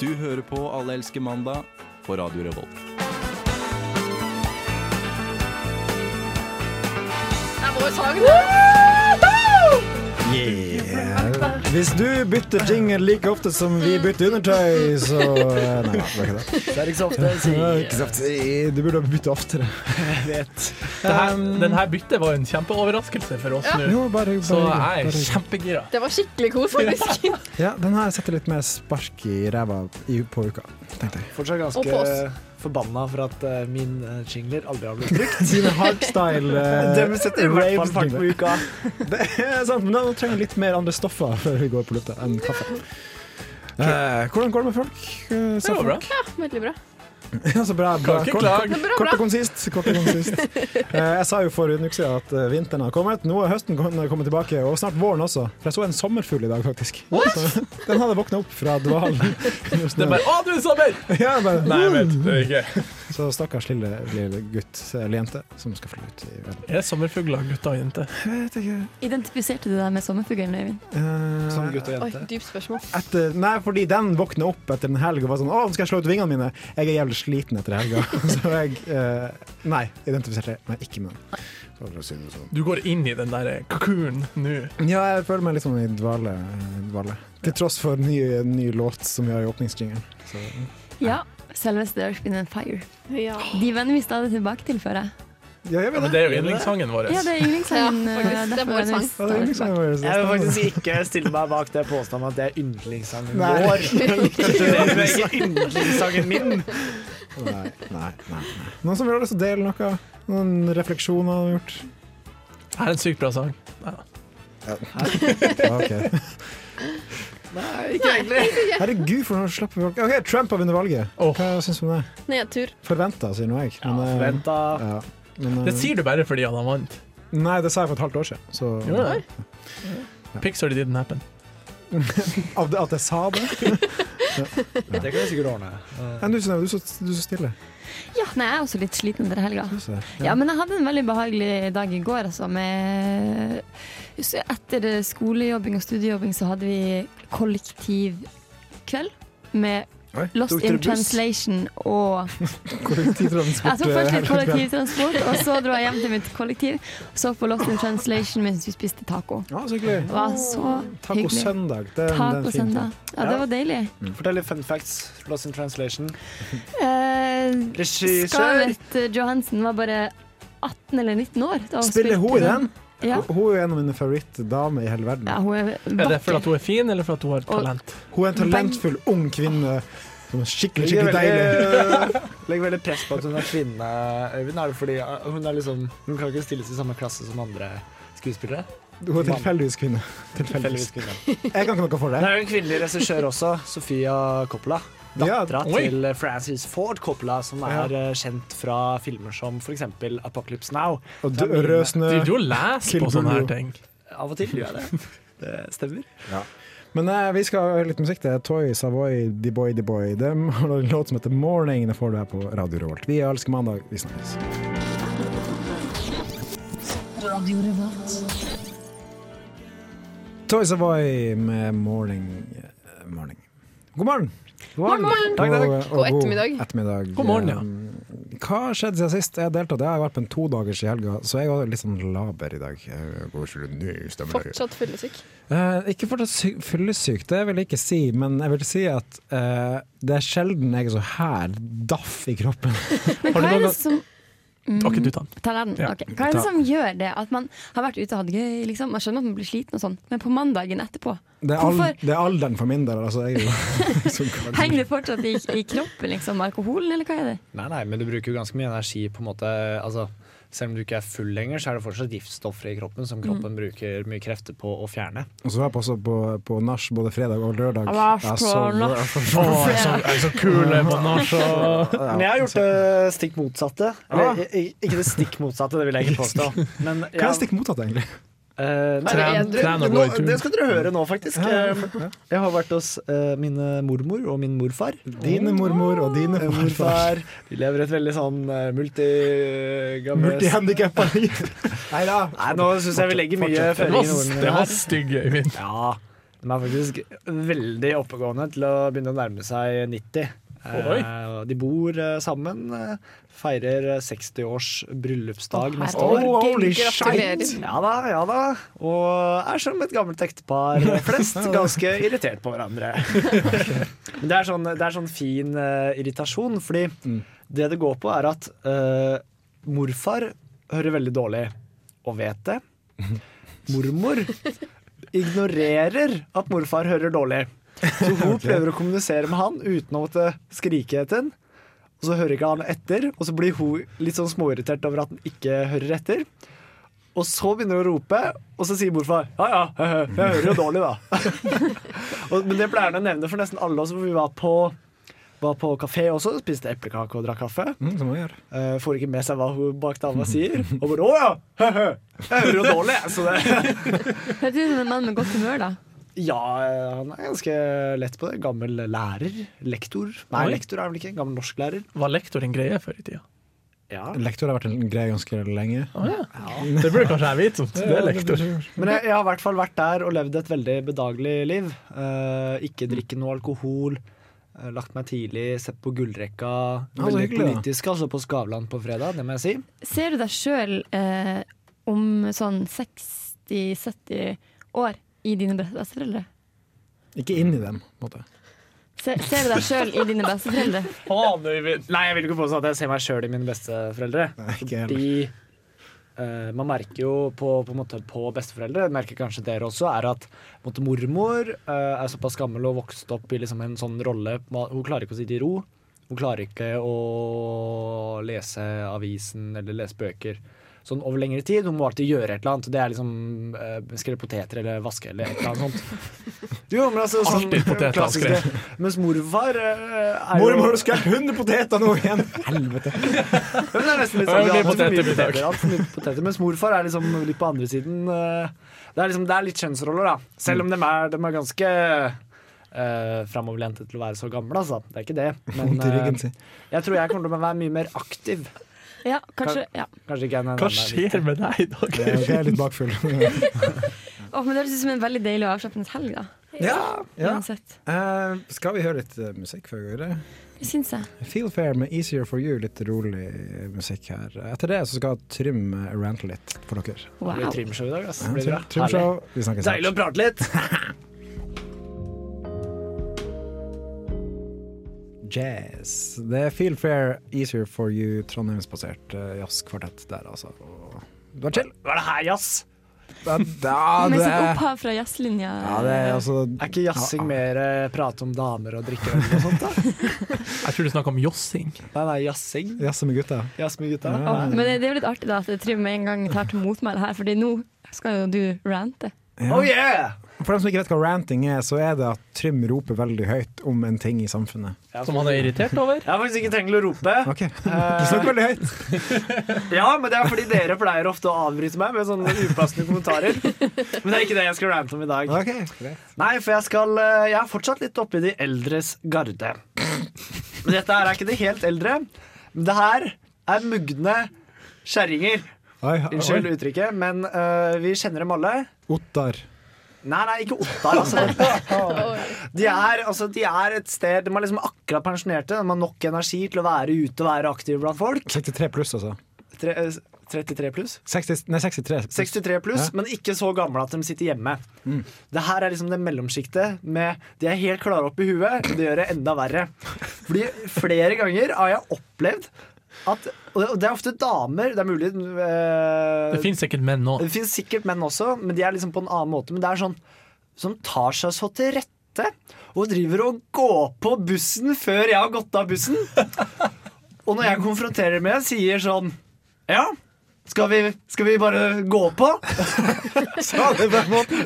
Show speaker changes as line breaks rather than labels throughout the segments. Du hører på Alle elsker mandag på Radio Revolt.
Det er vår sang, det.
Hvis du bytter jingle like ofte som vi bytter undertøy, så eh, Nei, det var ikke det.
Det er ikke så ofte jeg
Det var
sier
ikke sant. eh, Du burde bytte oftere. Jeg vet.
Det her, den her byttet var en kjempeoverraskelse for oss nå.
Jo, bare, bare,
Så jeg er
bare-
kjempegira.
Det var skikkelig kos, faktisk.
Ja, den her setter litt mer spark i ræva i- på uka, tenkte jeg.
Fortsatt
Og på
ganske
oss.
forbanna for at eh, min eh, jingler aldri har blitt brukt.
Sine hardstyle eh,
Dem setter i hvert fall fart på
raves-jingler.
uka.
Det er sant, men da trenger jeg litt mer andre stoffer før vi går på lufta enn kaffe. Eh, hvordan går det med folk? Eh,
Det var bra.
Ja, veldig bra.
Ja, så bra, bra.
Kan ikke
Kort-
klage.
Bra,
Kort
bra.
og konsist. Kort og konsist. Eh, Jeg sa jo for en uke siden at eh, vinteren har kommet. Nå er høsten kommet- kommet tilbake, og snart våren også. For jeg så en sommerfugl i dag, faktisk. Så, den hadde våkna opp fra dvalen.
Det er bare Å, du er sommer!
ja, bare,
Nei, jeg vet det ikke.
Så stakkars lille, lille gutt, eller jente, som skal fly ut i verden.
Er sommerfugler gutter og jenter?
Jeg vet ikke.
Identifiserte du deg med sommerfuglen, Øyvind?
Eh,
Som gutt og
Oi,
jente.
dypt spørsmål.
etter, nei, fordi den våkna opp etter en helg og var sånn Å, nå skal jeg slå ut vingene mine. Jeg er jævlig sliten etter helga. Så jeg eh, Nei, identifiserte meg ikke med den. Så det var synd, sånn.
Du går inn i den der kakunen nå.
Ja, jeg føler meg litt sånn i dvale. dvale. Til tross for ny, ny låt som vi har i åpningsjingeren.
Ja. Selveste Earth, Wind and Fire.
Ja.
De venner vi stadig tilbake til, føler jeg.
Ja, jeg
Ja,
vet
men
det.
det er jo yndlingssangen vår.
Ja, det er yndlingssangen.
Ja,
eh,
faktisk. Det er
derfor
vår
venner vi
sang.
Ja, det er liksom
stadig tilbake.
vår
Jeg vil
stemmer.
faktisk ikke stille meg bak det påstanden at det er yndlingssangen
Nei.
vår. Kanskje det er ikke yndlingssangen min.
Nei, nei, nei, nei. Noen som vil ha lyst til å dele noe? Noen refleksjoner du har gjort?
Her er en sykt bra sang.
Ja, ok.
Nei, ikke egentlig.
Herregud, for nå slapper vi folk OK, Trump har vunnet valget.
Åh.
Hva syns du om det?
Nedtur.
Forventa, sier nå jeg.
Ja,
eh,
Vent, da.
ja. Men, eh,
Det sier du bare fordi han har vant.
Nei, det sa jeg for et halvt år siden. Så
Ja. Pixar it didn't happen.
av det, at jeg sa det?
Det kan du sikkert ordne. Eh,
Ja, du, Synnøve, du, så- du er så stille.
Ja, nei, jeg er også litt sliten etter helga.
Du ser.
Ja, men jeg hadde en veldig behagelig dag i går, altså. Med så etter skolejobbing og studiejobbing så hadde vi kollektivkveld med
Oi,
Lost
tok dere
in
buss?
Translation og
Kollektivtransport.
Jeg tok
eh,
først litt
helga.
kollektivtransport, og så dro jeg hjem til mitt kollektiv. Så på Lost in Translation mens vi spiste taco.
Ja, så hyggelig.
Det var så
Taco
hyggelig.
søndag. Det, er en- det er en fin ting.
Tacosøndag. Ja, det var deilig.
Fortell litt fun facts. Lost in translation.
Eh,
Regissør.
Scarlett Johansen var bare 18 eller 19 år. da hun
Spiller hun i
spilte
den?
Ja.
Hun er jo en av mine favorittdamer i hele verden.
ja, hun er
Er det fordi
vakker.
at hun er fin, eller fordi at hun har talent?
Hun er en talentfull ung kvinne som er skikkelig,
Legger
skikkelig deilig.
veldig, legger veldig press på at hun er kvinne, Øyvind. Er det fordi eh, hun, er liksom, hun kan ikke stilles i samme klasse som andre skuespillere?
Hun er tilfeldigvis kvinne. Tilfeldigvis.
Tilfeldigvis kvinne.
Jeg kan ikke noe for
Det
det.
er jo en kvinnelig regissør også, Sofia Coppola.
Ja,
Dattera
oi.
til Francis Ford Coppola, som er eh, kjent fra filmer som f.eks. Apocalypse Now.
og dø- rød
Du,
snø.
du leser
Kill
på sånne her
Bill.
ting.
Av og til gjør jeg det. Det stemmer.
Men eh, vi skal høre litt musikk. Det er Toy Savoy, The Boy, The Boy. De har en låt som heter 'Morning'. Det får du her på Radio Revolt. Vi elsker mandag. Vi snakkes. Toy Savoy med 'Morning'. eh, morning. God morgen!
God morgen.
morgen.
Takk, takk.
Og- og
God ettermiddag.
ettermiddag.
God morgen, ja.
Eh, Hva har skjedd siden sist? Jeg har deltatt, jeg har vært på en todagers i helga, så jeg er litt sånn laber i dag. Jeg går ikke rundt nå, stemmer det?
Fortsatt fyllesyk.
Eh, ikke fortsatt sy- fyllesyk, det vil jeg ikke si, men jeg vil si at eh, det er sjelden jeg er så her daff i kroppen.
Men hva
Har du
er
noen
det som
Ok, du tar den.
Mm. Ta den.
Ja.
ok. Hva er det
Ta.
som gjør det? At man har vært ute og hatt det gøy, liksom. Man skjønner at man blir sliten og sånn, men på mandagen etterpå
Det er, al
Hvorfor?
det er alderen for min del. Altså, jeg, er jo- som kan-
Henger det fortsatt i, i kroppen, liksom? Alkoholen, eller hva er det?
Nei, nei, men du bruker jo ganske mye energi på en måte altså, Selv om du ikke er full lenger, så er det fortsatt giftstoffer i kroppen som kroppen bruker mye krefter på å fjerne.
og så var jeg på- også på, på nach både fredag og lørdag.
Lars
Jeg
på
sov-
nach.
Å, jeg er så, jeg er så kul jeg, på nach og
Men jeg har gjort det stikk motsatte. Eller, i- i- ikke det stikk motsatte, det vil jeg ikke påstå. Men Ah. jeg,
Hva er stikk mottatt, egentlig?
Eh, nei,
Tren-
jeg-
tren og
nå-
gå i tur.
Det skal dere høre nå, faktisk. Eh, Jeg har vært hos eh, mine mormor og min morfar. Mm.
Dine mormor og dine
Eh,
morfar.
Morfar. De lever et veldig sånn eh, multi... gamle-
Multihandikappa liv. Nei da.
Nei, nå syns jeg vi legger mye
Det var,
føringer i ordene
det
mine
var
her.
stygg, Øyvind.
Ja. De er faktisk veldig oppegående til å begynne å nærme seg 90. Eh,
Oi.
og de bor eh, sammen, eh, feirer 60-års bryllupsdag
Å,
neste år.
herregud,
Oh, holy
gratulerer.
shit! Ja da, ja da. Og er som et gammelt ektepar flest, ganske irritert på hverandre. Men det er sånn, det er sånn fin eh, irritasjon, fordi det det går på er at eh, morfar hører veldig dårlig og vet det. Mormor ignorerer at morfar hører dårlig. Så hun prøver å kommunisere med han uten å måtte skrike etter den. Og så hører ikke han etter, og så blir hun litt sånn småirritert over at han ikke hører etter. Og så begynner hun å rope, og så sier morfar ja ja, jeg hører jo dårlig, da. og, men det pleier han å nevne for nesten alle oss, for vi var på, var på kafé også, spiste eplekake og drakk kaffe.
Mm, som man gjør.
Eh, får ikke med seg hva hun bak dama sier. Og bare 'Å ja! Høhø! Jeg hører jo dårlig', jeg, så det
Hørtes ut som en mann med godt humør, da.
Ja, eh, han er ganske lett på det. Gammel lærer. Lektor. Nei,
Oi.
lektor er han vel ikke. Gammel norsklærer.
Var lektor en greie før i tida?
Ja.
Lektor har vært en greie ganske lenge.
Det burde kanskje jeg vite, som det er lektor.
Men jeg, jeg har i hvert fall vært der og levd et veldig bedagelig liv. Eh, ikke drikke noe alkohol. eh, Lagt meg tidlig, sett på gullrekka.
Ja, så
Veldig
hyggelig, da.
politisk, altså, på Skavlan på fredag, det må jeg si.
Ser du deg sjøl eh, om sånn 60-70 år i dine be- besteforeldre?
Ikke inn i dem, på en måte.
Ser, ser du deg sjøl i dine besteforeldre?
Faen, Øyvind.
Nei, jeg vil ikke påstå at jeg ser meg sjøl i mine besteforeldre.
Nei, ikke heller.
Fordi eh, man merker jo på, på, en måte på besteforeldre, merker kanskje dere også, er at på en måte, mormor eh, er såpass gammel og vokst opp i liksom, en sånn rolle Hun klarer ikke å sitte i ro. Hun klarer ikke å lese avisen eller lese bøker sånn over lengre tid. Hun må alltid gjøre et eller annet. Det er liksom eh, skrelle poteter eller vaske eller et eller annet sånt. Jo, men altså, sånn,
Alltid potet, han
klassiske- Mens morfar eh, er jo-
Mormor, har du skrelt 100 poteter nå igjen! Helvete.
ja, men det er nesten litt
Ja,
sånn,
det
vi har
blir poteter i dag.
hatt for mye poteter, vi har hatt for mye poteter. Mens morfar er liksom litt på andre siden. eh, Det er, liksom, det er litt kjønnsroller, da. Selv om de er, dem er ganske uh, framoverlente til å være så gamle, altså. Det er ikke det. Men
Vondt i ryggen
eh,
sin.
jeg tror jeg kommer til å være mye mer aktiv.
Ja, kanskje. ja
Kanskje ikke jeg
Hva skjer med deg i dag?
Det er- Jeg er litt bakfull.
Å, men Det høres ut som en veldig deilig og avslappende helg, da.
Ja, ja.
Uansett.
Eh, skal vi høre litt eh, musikk før vi går videre?
Det syns jeg.
Feel fair med Easier for you, litt rolig eh, musikk her. Etter det så skal Trym eh, rante litt for dere. Eh,
Det blir
Wow.
trimshow i dag, ass. Det blir bra.
Trym- Trymshow, vi
Herlig.
snakkes
Deilig å prate litt.
Jazz. Det er Feel fair, Easier for you, Trondheimsbasert eh, jazzkvartett der, altså. Og Det var chill.
Hva er det her, jazz?
Ja, da,
Med
det,
sitt opphav fra jazzlinja. eh,
ja, det er altså
Er ikke jazzing mer eh, prate om damer og drikke øl og sånt, da?
Jeg tror du snakker om jossing.
Nei, nei, jazzing.
Jazze med gutta.
Jazz med gutta.
Å, men det, det er jo litt artig da at Trym med en gang tar til motmæle her, Fordi nå skal jo du rante.
Ja.
Oh yeah!
For dem som ikke vet hva ranting er, så er det at Trym roper veldig høyt om en ting i samfunnet.
Som han er irritert over.
Jeg har faktisk ikke trengt å rope.
Ok,
Eh,
Du snakker veldig høyt.
Ja, men det er fordi dere pleier ofte å avbryte meg med sånne upassende kommentarer. Men det er ikke det jeg skal rante om i dag.
Ok, greit.
Nei, for jeg skal eh, Jeg er fortsatt litt oppi de eldres garde. Men dette her er ikke de helt eldre. Men det her er mugne kjerringer.
Oi, oi.
Unnskyld uttrykket, men eh, vi kjenner dem alle.
Ottar.
Nei, nei, ikke Ottar, altså. De er, altså. de er et sted De er liksom akkurat pensjonerte. De har nok energi til å være ute og være aktive blant folk.
63 pluss, altså.
Tre, eh, 33 pluss.
60, nei, 63.
63 pluss,
Hæ?
men ikke så gamle at de sitter hjemme. Det her er liksom det mellomsjiktet med De er helt klare opp i huet, og det gjør det enda verre. Fordi flere ganger har jeg opplevd at Og det- og det er ofte damer, det er mulig eh,
Det fins sikkert menn nå.
det finnes sikkert menn også, men de er liksom på en annen måte. Men det er sånn som tar seg så til rette og driver og går på bussen før jeg har gått av bussen. Og når jeg konfronterer med, sier sånn Ja, skal vi, skal vi bare gå på?
Ja, det var måten.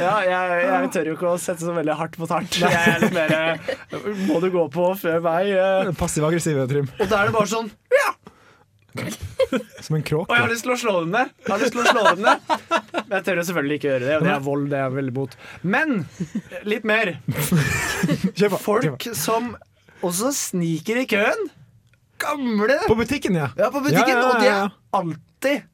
Ja, jeg, jeg tør jo ikke å sette så veldig hardt mot hardt. Jeg er litt mer eh, Må du gå på før meg? eh?
Passiv-aggressiv, Trym.
Og da er det bare sånn
Som en
Og jeg har
kråke.
lyst til å slå dem ned. Jeg har lyst til å slå dem ned. Men jeg tør jo selvfølgelig ikke gjøre det, og det er vold. det er jeg veldig mot. Men litt mer.
Kjør på. kjør
Folk
på.
som også sniker i køen. Gamle!
På butikken, ja.
Ja, på butikken.
Ja, ja, ja, ja.
Og de er alltid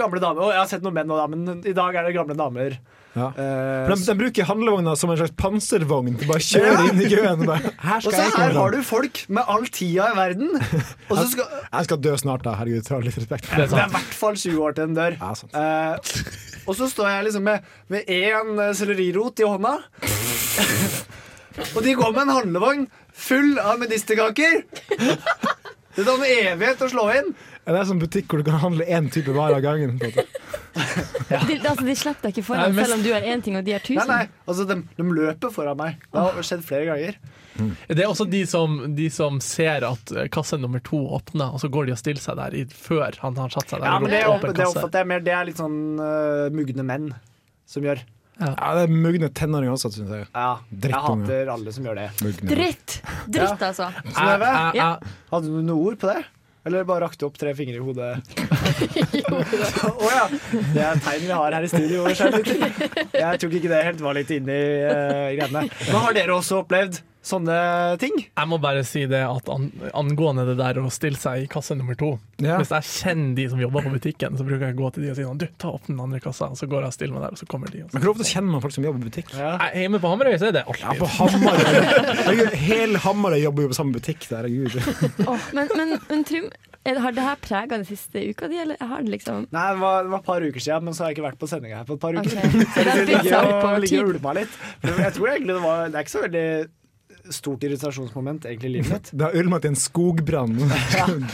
Gamle damer. Å, jeg har sett noen menn og damer, men i dag er det gamle damer.
Ja.
Eh,
For De, de bruker handlevogna som en slags panservogn. De bare kjører inn i køen. og Bare, her
og
skal
så
jeg sånn.
her
komme
har
fram.
du folk med all tida i verden, og så skal
Jeg skal dø snart, da. Herregud, ta litt respekt.
Det er
Det er i
sant.
hvert fall 20 år til den dør.
Ja, sånn. sant.
Eh, og så står jeg liksom med, med én eh, sellerirot i hånda. og de går med en handlevogn full av medisterkaker. Det tar en evighet å slå inn.
Det er en sånn butikk hvor du kan handle én type vare av gangen. på en måte.
De, altså, de slipper deg ikke
Nei,
foran,
mest-
selv om du har én ting og de har
Nei,
tusen.
nei, altså de, de løper foran meg. Det har skjedd flere ganger.
Det er også de som, de som ser at eh, kasse nummer to åpner, og så går de og stiller seg der i, før han har satt seg der.
Ja,
og
men det,
roper åpen
det
kasse.
oppfatter jeg mer. Det er litt sånn eh, mugne menn som gjør.
Ja, det er mugne tenåringer også, syns jeg.
Ja, jeg
Drittunge.
hater alle som gjør det.
Mugne.
Dritt! Dritt, altså.
Synnøve,
Jeg- jeg- jeg-
hadde du noen ord på det? Eller bare rakte opp tre fingre i hodet? Å ja. Det er tegn vi har her i studio. skjønner du. Jeg tok ikke det helt, var litt inni eh, greiene. Men har dere også opplevd sånne ting?
Jeg må bare si det at an, angående det der å stille seg i kasse nummer to
Ja.
Hvis jeg kjenner de som jobber på butikken, så bruker jeg å gå til de og si sånn, du, ta opp den andre kassa, og så går jeg og stiller meg der, og så kommer de. Og så.
Men Hvor ofte kjenner man folk som jobber i butikk?
Jeg, hjemme på Hamarøy så er det alltid.
Ja, på Hamarøy. Herregud, Hele Hamarøy jobber jo på samme butikk. Der, herregud.
Åh, men, men, men Trym, er det- har det her prega den siste uka di, eller har det liksom
Nei, det var, det var et par uker siden, men så har jeg ikke vært på sending her på et par
Ok.
uker.
Så det er
Jeg
litt
ligger
sånn
og,
på
ligger og
tid.
ulmer litt. Men jeg tror egentlig det var Det er ikke så veldig stort irritasjonsmoment, egentlig, i livet mitt.
Det har ulma til en skogbrann.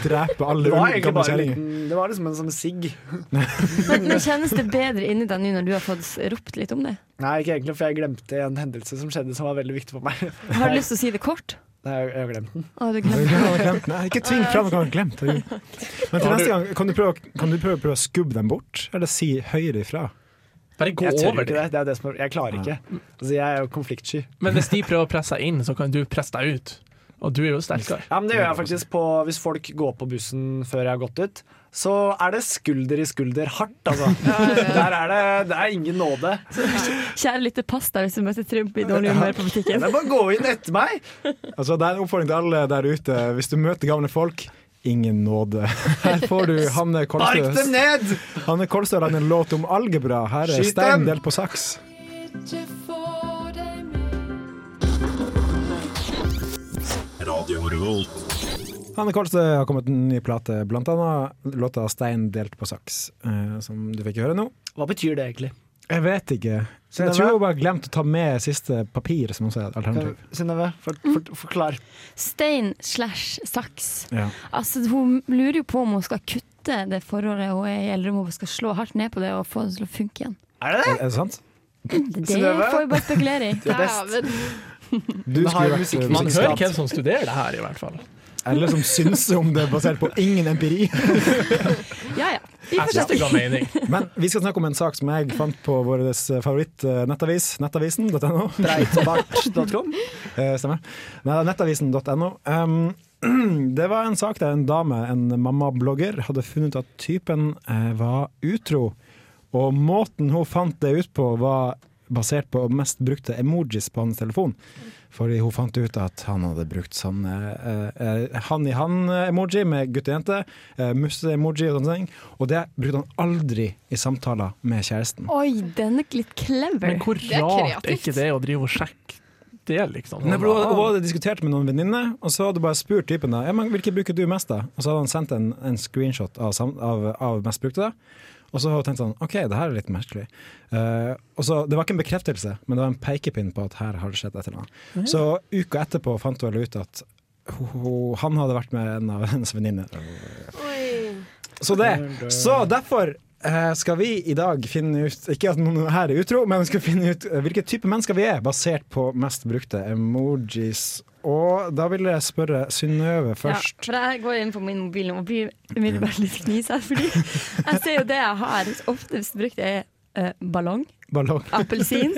Drepe alle
Det
ulv-
var egentlig
gamle
bare en
kjerringer.
liten Det var liksom en sånn sigg.
Men, men kjennes det bedre inni deg nå når du har fått s- ropt litt om det?
Nei, ikke egentlig, for jeg glemte en hendelse som skjedde som var veldig viktig for meg.
Har du lyst til å si det kort?
Nei, jeg jeg har glemt den.
Å, du
Nei,
glemte.
det har jeg glemt. Nei, Ikke tving fram noe han har glemt. herregud. Men til neste gang, kan du prøve, kan du prøve, prøve å skubbe dem bort, eller si høyere ifra?
Bare gå
Jeg tør
over
ikke
det.
det. det, er det som er, jeg klarer ikke. Altså, jeg er jo konfliktsky.
Men hvis de prøver å presse deg inn, så kan du presse deg ut. Og du er jo sterkere.
Ja, men det gjør jeg faktisk på Hvis folk går på bussen før jeg har gått ut, så er det skulder i skulder hardt, altså. Der er det, det er ingen nåde.
Kjære lytter, pass deg hvis du møter Trym i dårlig humør på
Det
butikken.
er bare å gå inn etter meg!
Altså, det er en oppfordring til alle der ute. Hvis du møter gamle folk, ingen nåde. Her får du Hanne
Bark dem
Kolstø.
ned!
Hanne Kolstø har lagd en låt om algebra. Her er
Skyt
stein
dem!
delt på saks. Hanne Kolstø har kommet en ny plate, blant annet låta 'Stein delt på saks', eh, som du fikk høre nå.
Hva betyr det egentlig?
Jeg vet ikke. Jeg tror hun bare glemte å ta med siste papir, som hun sier. Alternativ.
Synnøve, for, for, forklar.
Stein slash saks.
Ja.
Altså, hun lurer jo på om hun skal kutte det forholdet hun er i, eller om hun skal slå hardt ned på det og få det til å funke igjen.
Er det det?
Er det sant?
Mm, Det
Synnøve?
får vi bare spekulere i.
Du er best.
Dæven.
Du
Det har
skulle vært eh,
musikk-
Man hører
Musikkskatt.
hvem som studerer det her, i hvert fall.
Eller som syns om det, basert på ingen empiri.
Ja ja. Vi
Jeg
får
synes det
se.
ga mening.
Men vi skal snakke om en sak som jeg fant på vår favoritt-nettavis, nettavisen.no.
Breitbart.com.
Eh, Stemmer. Nei, Nettavisen.no. Um, det var en sak der en dame, en mammablogger, hadde funnet ut at typen eh, var utro. Og måten hun fant det ut på, var basert på mest brukte emojis på hans telefon. Fordi hun fant ut at han hadde brukt sånn eh, eh, han-i-han-emoji med gutt og jente. Eh, Musse-emoji og sånne ting. Og det brukte han aldri i samtaler med kjæresten.
Oi, den er litt clever.
Men hvor
er
rart er
kreativt.
ikke det å drive og sjekke det, liksom?
Nei, for hun, hadde, hun hadde diskutert med noen venninner, og så hadde hun bare spurt typen da, ja, men hvilke bruker du mest. da? Og så hadde han sendt en, en screenshot av, sam- av, av mest brukte. da. Og så hadde hun tenkt sånn OK, det her er litt merkelig. Eh, og så, Det var ikke en bekreftelse, men det var en pekepinn på at her har det skjedd et eller annet. Så uka etterpå fant hun vel ut at ho- ho- han hadde vært med en av hennes venninner. Så det. Så derfor eh, skal vi i dag finne ut Ikke at noen her er utro, men vi skal finne ut eh, hvilke type mennesker vi er, basert på mest brukte emojis. Og da vil jeg spørre Synnøve
Ja,
først.
for jeg går inn på min mobil nå og blir umiddelbart litt knisete. Fordi jeg ser jo det jeg har oftest brukt, er eh, ballong,
Ballong.
appelsin,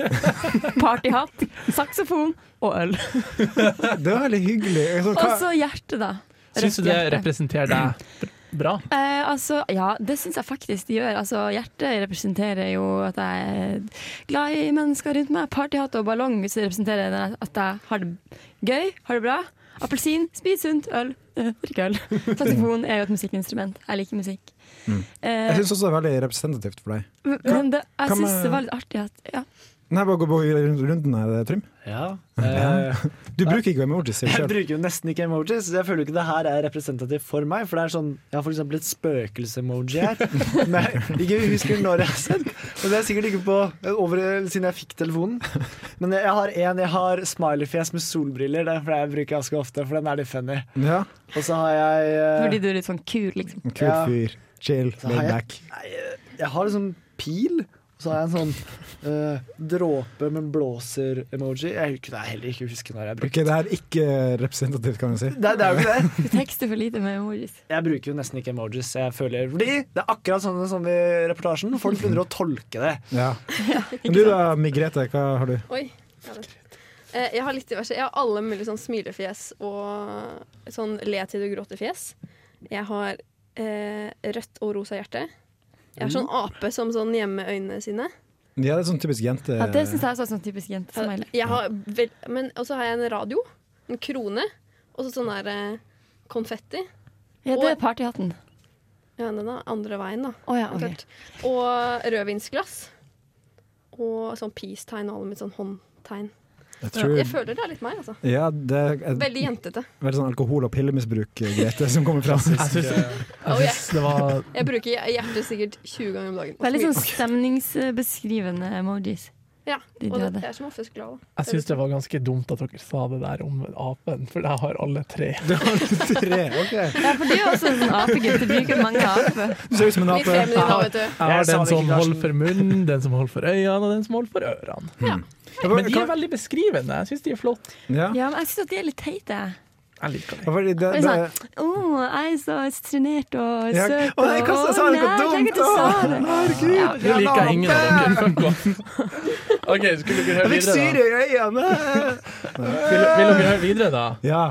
partyhatt, saksofon og øl.
Det var veldig hyggelig. Altså,
Og
hva,
så hjerte, da.
Syns du det
Rødt hjerte.
representerer deg br- bra?
Eh, altså, ja, det syns jeg faktisk de gjør. Altså, hjertet representerer jo at jeg er glad i mennesker rundt meg. Partyhatt og ballong så representerer det at jeg har det gøy, har det bra. Appelsin, spis sunt, øl, eh, drikk øl. Saksofon er jo et musikkinstrument. Jeg liker musikk. Eh,
Mm. Jeg syns også det er veldig representativt for deg.
men det, jeg
kan
syns det
jeg-
var litt artig at ja.
Nei, bare gå på rundt- runden her, Trym.
Ja. Eh,
Du bruker ikke emojis. i
jeg
selv.
bruker jo nesten ikke emojis, så jeg føler ikke det her er representativt for meg. For det er sånn, Jeg har for eksempel et spøkelse-emoji her. Men jeg ikke husker når jeg har sendt. Og det er sikkert ikke på over siden jeg fikk telefonen. Men jeg har en jeg har smileyfjes med solbriller, den for jeg bruker ganske ofte. For den er litt funny.
Ja,
Og så har jeg eh,
Fordi du er litt sånn kul, liksom.
en kul
Ja.
fyr. Chill,
har
laid
jeg-
back.
Jeg har liksom pil, og så har jeg en sånn eh, dråpe med blåser-emoji. Jeg kunne heller ikke huske når jeg
Ok,
brukte
det her er ikke representativt, kan jeg si.
det. Det er jo ikke det.
Du tekster for lite med emojis.
Jeg bruker jo nesten ikke emojis. Jeg føler, fordi det er akkurat sånn som i reportasjen. Folk begynner å tolke det.
Ja. Men du da, Migrete, hva har du?
Oi. ja vel. Eh, Jeg har litt diverse. Jeg har alle mulige sånn smilefjes og sånn le til du gråter-fjes. Jeg har eh, rødt og rosa hjerte. Jeg har sånn ape som sånn gjemmer øynene sine.
Ja, det er sånn typisk jente...
Ja, det syns jeg også er sånn typisk jentesmiley.
Jeg har vel, men også har jeg en radio, en krone, og så sånn der eh, konfetti.
Ja, det er partyhatten.
Ja, den er andre veien, da.
Å ja, ok.
klart. Og rødvinsglass. Og sånn peace-tegn og alle med sånn håndtegn.
Jeg tror,
Jeg føler det er litt meg, altså.
ja, det er et
Veldig jentete.
veldig sånn alkohol- og pillemisbruk, eh, Grete, som kommer fram.
Jeg syns,
Oh,
jeg syns det var
Jeg bruker hj- hjertet sikkert 20 ganger om dagen. Og
Veldig
så mye-
sånn stemningsbeskrivende emojis.
ja,
de
og det,
døde.
jeg er som oftest glad. da.
Jeg syns det var ganske dumt at dere sa det der om apen, for jeg har alle tre.
Du har tre, ok.
Ja, for du er også en sånn apegutt. Du bruker mange aper.
Du ser ut som en
Litt
ape.
feminin da, vet du.
Jeg har
Jeg sa
den
det ikke,
som holder
Karsten.
for munnen, den som holder for øynene, og den som holder for ørene. Men de er veldig beskrivende. Jeg syns de er flotte.
Ja.
Ja, men jeg syns at de er litt teite.
Jeg liker
Ja,
dem.
fordi Det,
Det er
det,
sånn, Å, jeg er så trenert og
Ja.
søt.
Å, nei, hva sa jeg? Noe
nei, tenk
dumt,
at du sa
å.
det.
herregud,
Ja.
Nå liker jeg ingen av dere. Fuck off. OK, skulle dere høre
Jeg fikk syr
videre, da?
i øynene!
Vil, vil
Eh.
dere høre videre, da?
ja.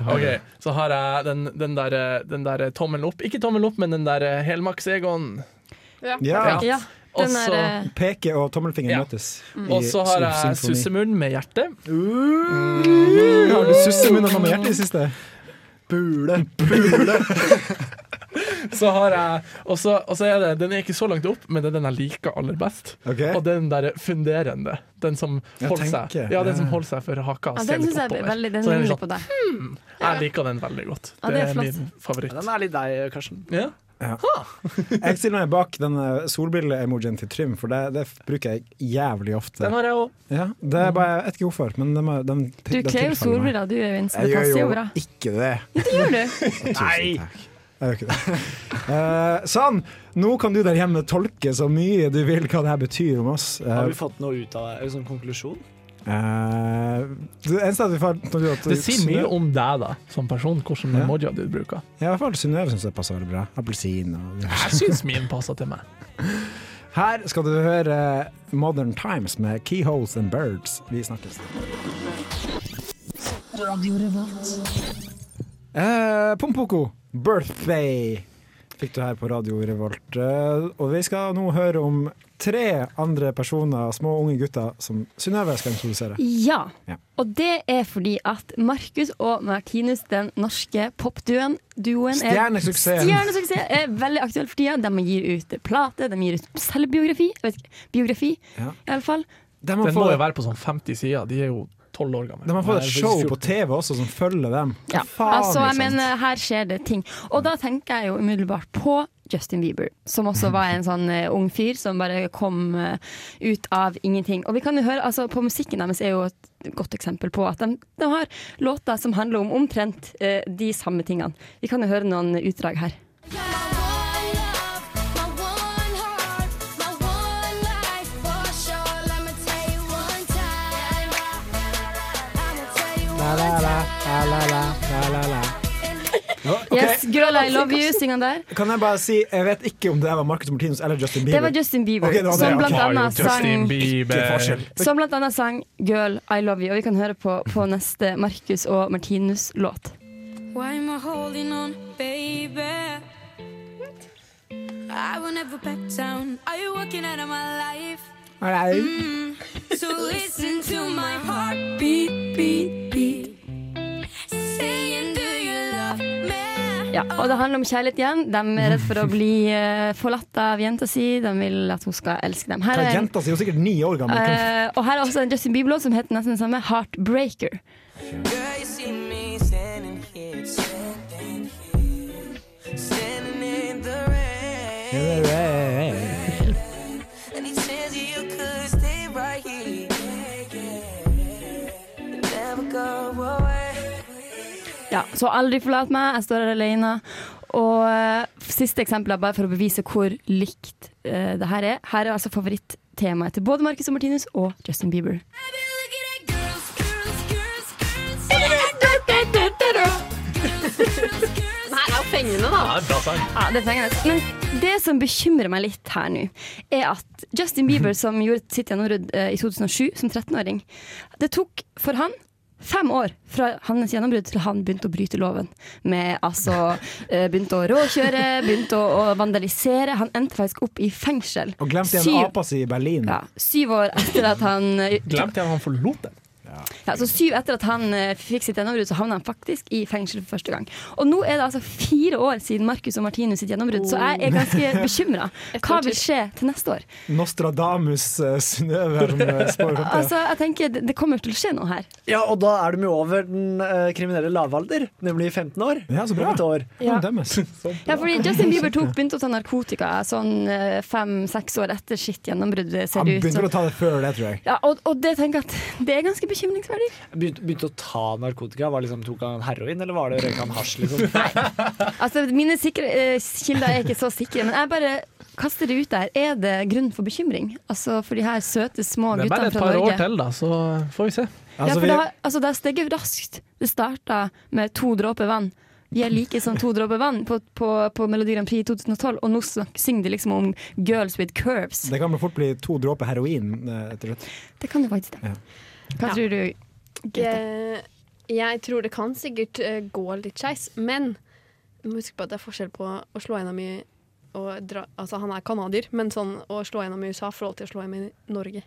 Ok, så har jeg den, den der, eh, den der tommelen opp. Ikke tommelen opp, men den der eh, helmaks-Egon.
ja.
Ja.
Ja, den
Også-
der
Peke og tommelfingeren
Ja.
møtes.
Mm.
Og så har jeg
sussemunn.
sussemunn med hjerte.
Har du sussemunn og noe med hjertet i siste?
Bule.
Så har jeg Og så og så er det Den er ikke så langt opp, men det er den jeg liker aller best.
Ok.
Og den der funderende. Den som
Ja,
holder seg
tenker.
Ja, den som
Ja.
holder seg for haka. og
ja,
ser
den
litt
syns jeg er
oppover.
veldig Den
Så den er
ligner
sånn-
på deg.
Jeg liker den veldig godt.
Ja,
det,
det er
er
flott.
min
Ja,
favoritt.
Den er litt deg, Karsten.
Ja.
Jeg stiller meg bak den eh, solbrille-emojien til Trym, for det, det bruker jeg jævlig ofte.
Den har jeg òg.
Ja, det er bare, jeg vet ikke hvorfor, men den, den,
Du
den
kler jo
tilfaller meg.
solbriller, du Øyvind, så
Jeg
det passer jo
gjør
bra.
jo ikke det.
Det gjør du.
Tusen
Nei.
takk. Jeg gjør ikke det. Eh, sånn, nå kan du der hjemme tolke så mye du vil hva det her betyr om oss. Eh,
Har vi fått noe ut av det? En sånn konklusjon?
eh, det eneste at vi får når du har
Det sier mye om deg da, som person, hvordan
Ja.
emojier du bruker.
Ja, I hvert fall Synnøve syns det passer veldig bra. Appelsin og
Jeg syns min passer til meg.
Her skal du høre Modern Times med Keyholes and Birds. Vi snakkes. Eh, Pompoko, birthday, fikk du her på Radio Revolt. Eh, og vi skal nå høre om tre andre personer, små unge gutter, som Synnøve skal introdusere.
Ja.
Ja.
Og det er fordi at Markus og Martinus, den norske popduoen duoen er
Stjernesuksessen.
Stjernesuksess er veldig aktuell for tida. De gir ut plate, de gir ut selvbiografi. Jeg vet ikke, biografi,
Ja.
i alle fall.
De har,
Den må jo
fått,
være på sånn 50 sider. De er jo 12 år gamle.
de har fått et
Nei,
show
14.
på TV også som følger dem.
Ja.
Faen, liksom?
altså, jeg
ikke sant?
mener, her skjer det ting. Og da tenker jeg jo umiddelbart på Justin Bieber, som også var en sånn eh, ung fyr som bare kom eh, ut av ingenting. Og vi kan jo høre, altså på musikken deres er jo et godt eksempel på at de, de har låter som handler om omtrent eh, de samme tingene. Vi kan jo høre noen utdrag her.
Ok,
Yes, girl, I love you, synger han der.
Kan jeg bare si, jeg vet ikke om det her var Marcus Martinus eller Justin Bieber.
Det var Justin Bieber,
Ok, det var det,
som
ja.
blant
Har jo
annet
Justin
sang
Det er
Bieber.
forskjell.
som blant annet sang 'Girl, I love you', og vi kan høre på, på neste Markus og Martinus-låt.
Why am I holding on, baby? I will never back down. Are you walking out of my life?
Mm.
Mm. So listen to my heart beat, beat, beat. Saying, do you love me?
Ja, og det handler om kjærlighet igjen. De er redd for å bli eh, forlatt av jenta si. De vil at hun skal elske dem. Her
Hva
er
er
en,
Jenta si er jo sikkert ni år gammel. Kan-
eh, og her er også en Justin Bieber-låt som heter nesten det samme, 'Heartbreaker'.
Girl, you see me standing here, standing here, standing in the rain.
Eh,
And he says you could stay right here, yeah, yeah, and never go away.
Ja, så aldri forlat meg, jeg står her alene. Og eh, siste eksempel er bare for å bevise hvor likt eh, det her er. Her er altså favorittemaet til både Marcus og Martinus og Justin Bieber.
I be looking at girls, girls, girls, girls.
Den her er jo fengende, da.
Ja, det er en bra sang.
Ja, det er fengende. Men det som bekymrer meg litt her nå, er at Justin Bieber, som gjorde sitt gjennombrudd eh, i 2007 som 13-åring, det tok for han Fem år fra hans gjennombrudd til han begynte å bryte loven. Med altså eh, Begynte å råkjøre, begynte å, å vandalisere. Han endte faktisk opp i fengsel.
Og glemte
Syv-
igjen apa si i Berlin.
Ja, syv år etter at han eh,
Glemte jeg at han forlot den.
ja, så syv etter at han eh, fikk sitt gjennombrudd, så havna han faktisk i fengsel for første gang. Og nå er det altså fire år siden Marcus og Martinus sitt gjennombrudd, så jeg er ganske bekymra. Hva vil skje til neste år?
Nostradamus eh, Synnøve her som eh, spår om det.
Altså, jeg tenker det- Det kommer til å skje noe her.
Ja, og da er de jo over den eh, kriminelle lavalder, nemlig 15 år.
Ja, så bra.
Om et år.
Ja. dømmes.
Ja, fordi Justin Bieber tok, begynte å ta narkotika sånn fem-seks år etter sitt gjennombrudd. eh, ser
Han
det ut
begynte
som.
å ta det før det, tror jeg.
Ja, og, og det tenker jeg at det er ganske bekymringsverdig.
Begynte, begynte å ta narkotika. Var liksom, tok han heroin, eller var det røyka han hasj? Liksom?
Altså, Mine sikre, eh, kilder er ikke så sikre, men jeg bare kaster det ut der. Er det grunn for bekymring? Altså For de her søte, små
Det er bare
guttene
et
fra
par
Norge.
år til, da, så får vi se.
ja,
Altså,
for
vi,
det, har, altså, det har steget raskt. Det starta med to dråper vann. Vi er like som to dråper vann på, på, på Melodi Grand Prix i 2012, og nå snak- synger de liksom om girls with curves.
det kan vel fort bli to dråper heroin eh, etter hvert.
Det kan jo faktisk det.
Ja.
Hva
Ja.
tror du? Grete?
Eh, Jeg tror det kan sikkert eh, gå litt skeis, men du må huske på at det er forskjell på å slå gjennom i og dra, altså Han er canadier, men sånn å slå gjennom i USA i forhold til å slå gjennom i Norge.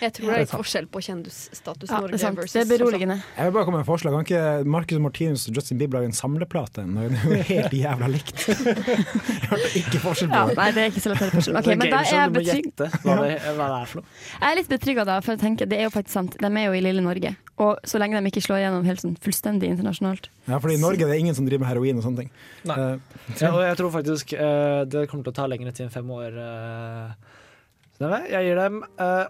Jeg tror det er litt forskjell på kjendisstatus
Ja, det
Norge
er sant.
versus altså,
Det er beroligende.
Jeg vil bare komme med et forslag. Kan ikke Marcus og Martinus og Justin Bieber lage en samleplate? Når det er jo helt jævla likt. Jeg hørte ikke forskjell på
Ja,
det.
nei, det er ikke så lett å høre forskjell. Ok,
Det er
men da
gøy,
er
så
jeg
du må
betrygg.
gjette hva det, hva det er for noe.
Jeg er litt betrygga da, for jeg tenker, det er jo faktisk sant. De er jo i lille Norge. Og så lenge de ikke slår gjennom helt sånn fullstendig internasjonalt.
Ja, for i Norge er det ingen som driver med heroin og sånne ting.
Nei.
Eh,
Ja, og jeg tror faktisk eh, det kommer til å ta lengre tid enn fem år. eh. Så nei, jeg gir dem eh,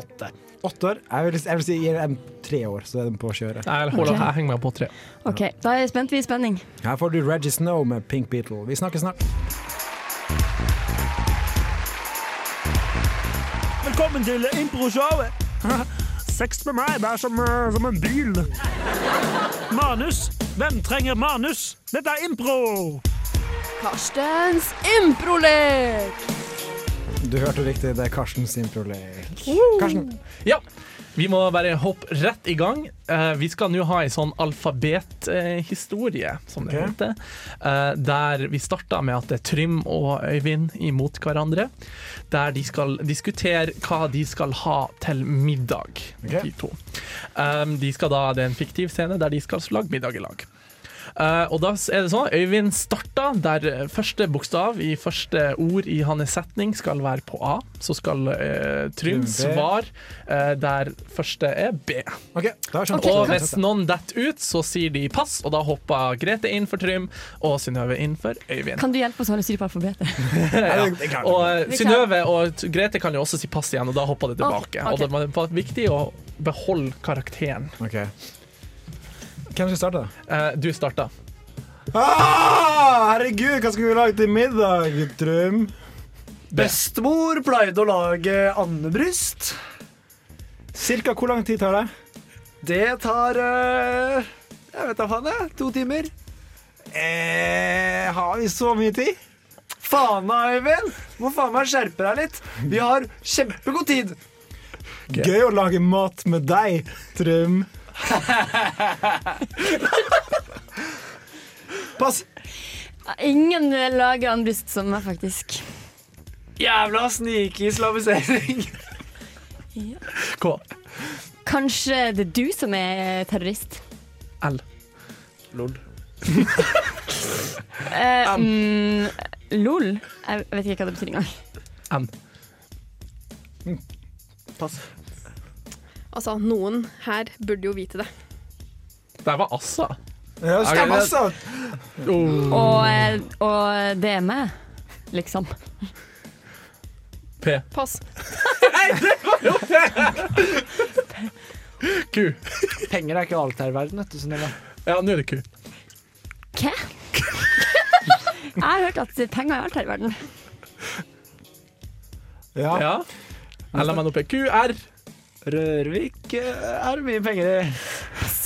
åtte.
åtte år? Jeg vil, jeg vil si gir dem tre år, så er de på kjøret.
Nei, hold
Ok.
opp, jeg henger meg på tre.
Ok, Da er jeg spent. Vi er i spenning.
Her får du Reggie Snow med Pink Beetle. Vi snakkes snart.
Velkommen til improshowet. Sex med meg, det er som, eh, som en bil. Manus. Hvem trenger manus? Dette er impro!
Karstens improlek!
Du hørte riktig, det er Karsten sin problem. Karsten,
Ja, vi må bare hoppe rett i gang. Eh, vi skal nå ha ei sånn alfabethistorie, som det
Ok.
heter. eh, der vi starta med at det er Trym og Øyvind imot hverandre. Der de skal diskutere hva de skal ha til middag,
Ok.
de to. Um, de skal da, det er en fiktiv scene der de skal lage middag i lag. Eh, og da er det sånn at Øyvind starta der eh, første bokstav i første ord i hans setning skal være på A. Så skal eh,
Trym
Trym
B.
svar eh, der første er B.
OK, da har jeg skjønt.
og hvis noen detter ut, så sier de pass, og da hopper Grete inn for Trym og Synnøve inn for Øyvind.
Kan du hjelpe oss å holde styr på alfabetet?
Ja, det er klart.
Og eh, Synnøve og t- Grete kan jo også si pass igjen, og da hopper det tilbake.
ok.
Og det var viktig å beholde karakteren.
Ok. Hvem skal starte?
Eh, du starta.
Ah, herregud, hva skal vi lage til middag, Trym?
Bestemor pleide å lage andebryst.
Cirka hvor lang tid tar det?
Det tar eh, Jeg vet da faen, jeg. To timer.
Eh, har vi så mye tid?
Faen meg, Øyvind! Må faen meg skjerpe deg litt. Vi har kjempegod tid.
Gøy å lage mat med deg, Trym. Pass.
Ingen vil lage andbryst som meg, faktisk.
Jævla snikislamisering.
K.
Kanskje det er du som er terrorist?
L.
Lol.
Eh, mm, lol. Jeg vet ikke hva det betyr engang.
N.
Pass.
Altså, noen her burde jo vite det.
Der var Assa.
Ja,
stemmer,
altså.
Oh.
Og, eh, og det er meg, liksom.
P.
Pass.
Q.
Penger er ikke alt her i verden, vet du, Sunniva.
Ja, nå er det Q.
Hva? Jeg har hørt at penger er alt her i verden.
Ja.
Ja. LMNOP. QR.
Rørvik eh, er det mye penger i.
S.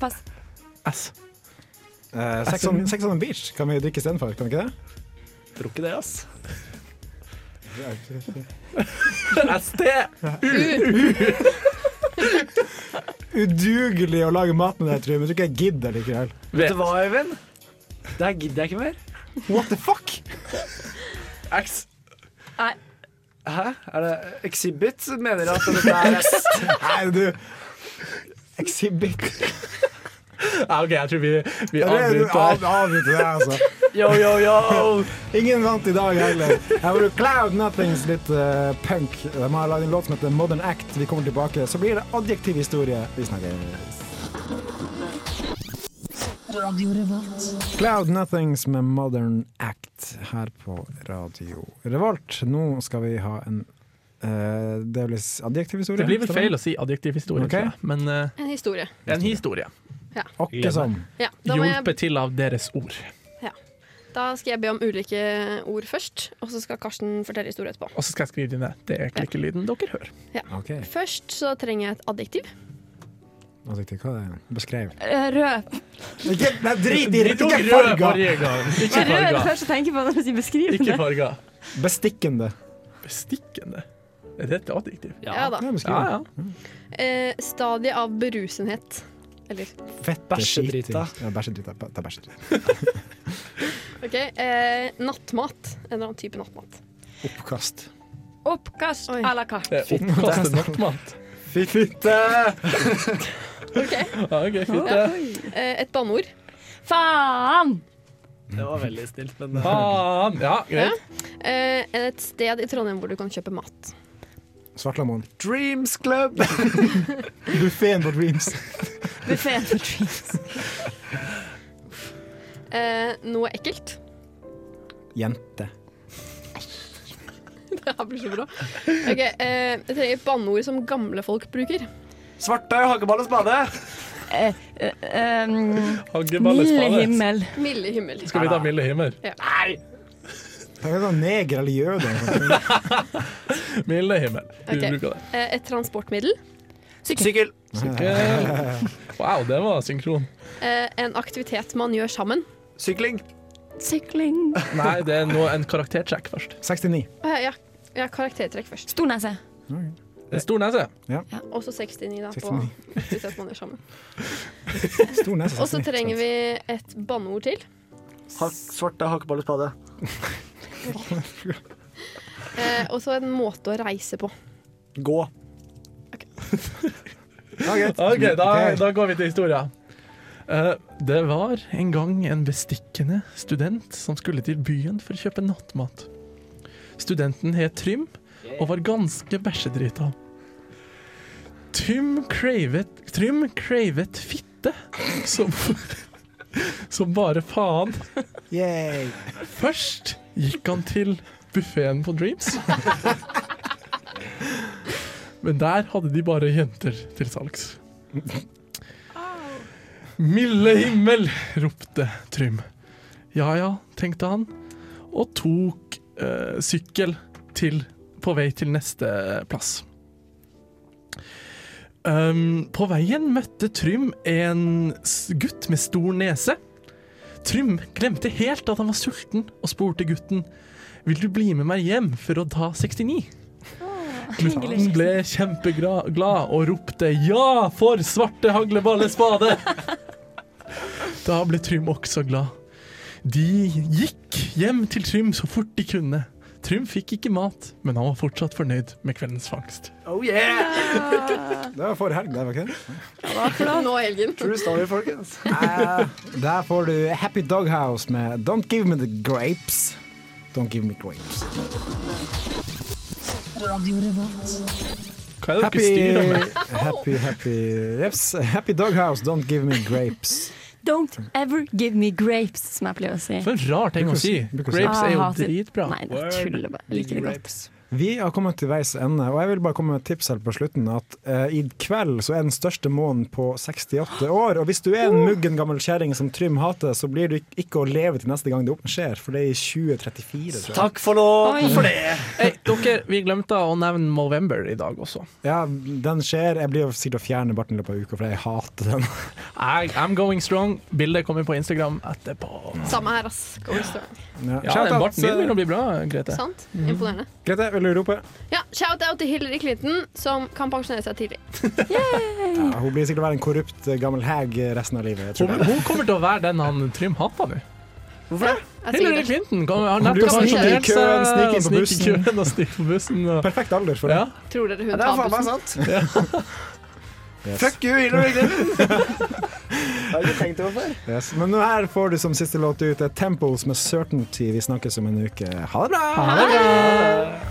Pass.
S.
Eh, sex, on, sex on the beach kan vi drikke istedenfor, kan vi ikke det?
Tror ikke det, ass.
ST.
Udugelig å lage mat med det, tror jeg, men jeg tror ikke jeg gidder likevel.
V.
Vet du hva, Øyvind? Det her gidder jeg ikke mer.
What the fuck?
X.
Nei,
Hæ? Er det Exhibit mener at dette er
Nei, du Exhibit.
Ja, OK, jeg tror vi, vi
Ja, det- du
avbryter her.
av- Avbryter det, altså.
Yo, yo, yo!
Ingen vant i dag heller. Her var du Cloud Nothings litt eh, punk. De har lagd en låt som heter Modern Act. Vi kommer tilbake, så blir det adjektiv historie. Vi snakkes. Cloud Nothings med Modern Act her på Radio Revolt. Nå skal vi ha en eh, Det blir adjektiv historie.
Det blir vel feil å si adjektiv historie,
Ok.
tror jeg. men eh,
En historie.
en historie.
Åkke som.
Ja, da, må jeg,
Hjulpet til av deres ord.
da skal jeg be om ulike ord først, og så skal Karsten fortelle historie etterpå.
Og så skal jeg skrive det ned. Det er klikkelyden dere hører.
OK.
Først så trenger jeg et adjektiv.
Adjektiv, hva er det? Beskrev.
eh, Rød.
Ikke, nei, drit i det!
Ikke
Ikke
farger!
farger!
Ikke
Rød er det
farger.
første jeg tenker på når jeg sier
Ikke
beskrivende.
farger.
Bestikkende.
Bestikkende. Er det et adjektiv?
Ja, da.
Ja,
Ja,
beskriv.
ja.
Eh, stadie av berusenhet. Eller
Fett
Bæsjedrita.
Ja, bæsjedrita. Ta bæsjedrita.
OK. Eh, nattmat. En eller annen type nattmat.
Oppkast.
Oppkast
Oi.
à la carte.
Det er oppkastet nattmat.
Fitte!
OK.
Ja, OK, fint det.
Eh, et banneord.
Faen!
Det var veldig snilt, men eh,
Faen. Ja, greit.
Eh, et sted i Trondheim hvor du kan kjøpe mat.
Svartlamoen.
Dreams Club!
Buffeen på Dreams.
Buffeen for dreams.
Eh, noe ekkelt.
Jente.
Det her blir så bra. Ok, eh, Jeg trenger et banneord som gamle folk bruker.
Svartøy, hageball og spade.
Eh, eh, ehm,
Haggeballe
Milde
spade.
himmel.
Milde himmel.
Skal vi ta Mille Himmel?
Det er sånn neger eller jøde. eller noe sånt.
Mille Himmel. Du
Ok.
bruker det.
Eh, et transportmiddel.
Sykkel.
Sykkel. Wow, det var synkron.
Eh, en aktivitet man gjør sammen.
Sykling.
Sykling.
Nei, det er nå en karaktersjekk først.
69.
Eh, ja, ja, karaktertrekk først.
Stor nese.
En stor nese.
Og så 69, da. På
69.
aktivitet man gjør sammen.
Stor nese.
Og så trenger vi et banneord til.
Ha Svartøy, hageball og spade.
Eh, og så en måte å reise på.
Gå.
Ja, greit.
OK, da,
Ok.
da går vi til historia. Eh, det var en gang en bestikkende student som skulle til byen for å kjøpe nattmat. Studenten het Trym og var ganske bæsjedrita. Trym cravet, Trym cravet fitte som, som bare faen.
Yay.
Først gikk han til buffeen på Dreams. Men der hadde de bare jenter til salgs. Milde himmel, ropte Trym. Ja ja, tenkte han, og tok eh, sykkel til, på vei til neste plass. Um, på veien møtte Trym en s- gutt med stor nese. Trym glemte helt at han var sulten, og spurte gutten Vil du bli med meg hjem for å ta 69. Gutten ble kjempeglad og ropte ja for svarte hagleballe spade. Da ble Trym også glad. De gikk hjem til Trym så fort de kunne. Trym fikk ikke mat, men han var fortsatt fornøyd med kveldens fangst.
Oh yeah!
Det var forrige helg, det, var ikke det?
Nå i helgen.
True story, folkens.
Der får du Happy Doghouse med Don't Give Me The Grapes. Don't Give Me Grapes.
Hva er det
Happy,
dere styrer med?
happy, happy, yes. happy Doghouse, Don't Give Me Grapes.
Don't ever give me grapes, som jeg pleier å si.
For en rar ting å si.
Bruker å si.
Grapes er jo
Ah, hater.
dritbra.
Nei, det er tull. Jeg bare liker det godt.
Vi har kommet til veis ende, og jeg vil bare komme med et tips helt på slutten. At eh, i kveld så er den største månen på 68 år, og hvis du er en muggen gammel kjerring som Trym hater, så blir du ik- ikke å leve til neste gang det skjer, for det er i 2034, tror jeg.
Takk for lov
Oi.
for det.
Hey, dere, vi glemte å nevne Movember i dag også.
Ja, den skjer. Jeg blir jo sikkert å fjerne barten i løpet av uka, for jeg hater den.
I, I'm going strong. Bildet kommer på Instagram etterpå.
Samme her, ass. Going strong.
Ja.
Ja,
Shout
den
out,
barten din begynner å bli bra, Grete.
Sant? Imponerende.
eh, Grete, vil du rope?
Ja, Shout-out til Hillary Clinton, som kan pensjonere seg tidlig.
Ja, hun blir sikkert å være en korrupt eh, gammel hag resten av livet. Jeg
Hun,
tror det.
hun kommer til å være den han Trym hater nå.
Hvorfor det?
Jeg sier
Hillary
det.
Clinton kommer, har
Hun
nettopp
kan snike i
pensjonert seg,
køen, snike inn på
snike i
bussen.
køen og snike på bussen. Og,
Perfekt alder for
ja.
det.
Tror dere hun
Ja, det er
tar
faen meg
bussen?
sant.
Yes.
Fuck you, Hillary Clinton! Det har jeg ikke tenkt over før.
Yes. Men nå her får du eh, som siste låt ut et Temples med Certainty. Vi snakkes om en uke. Ha det bra!
Ha det bra!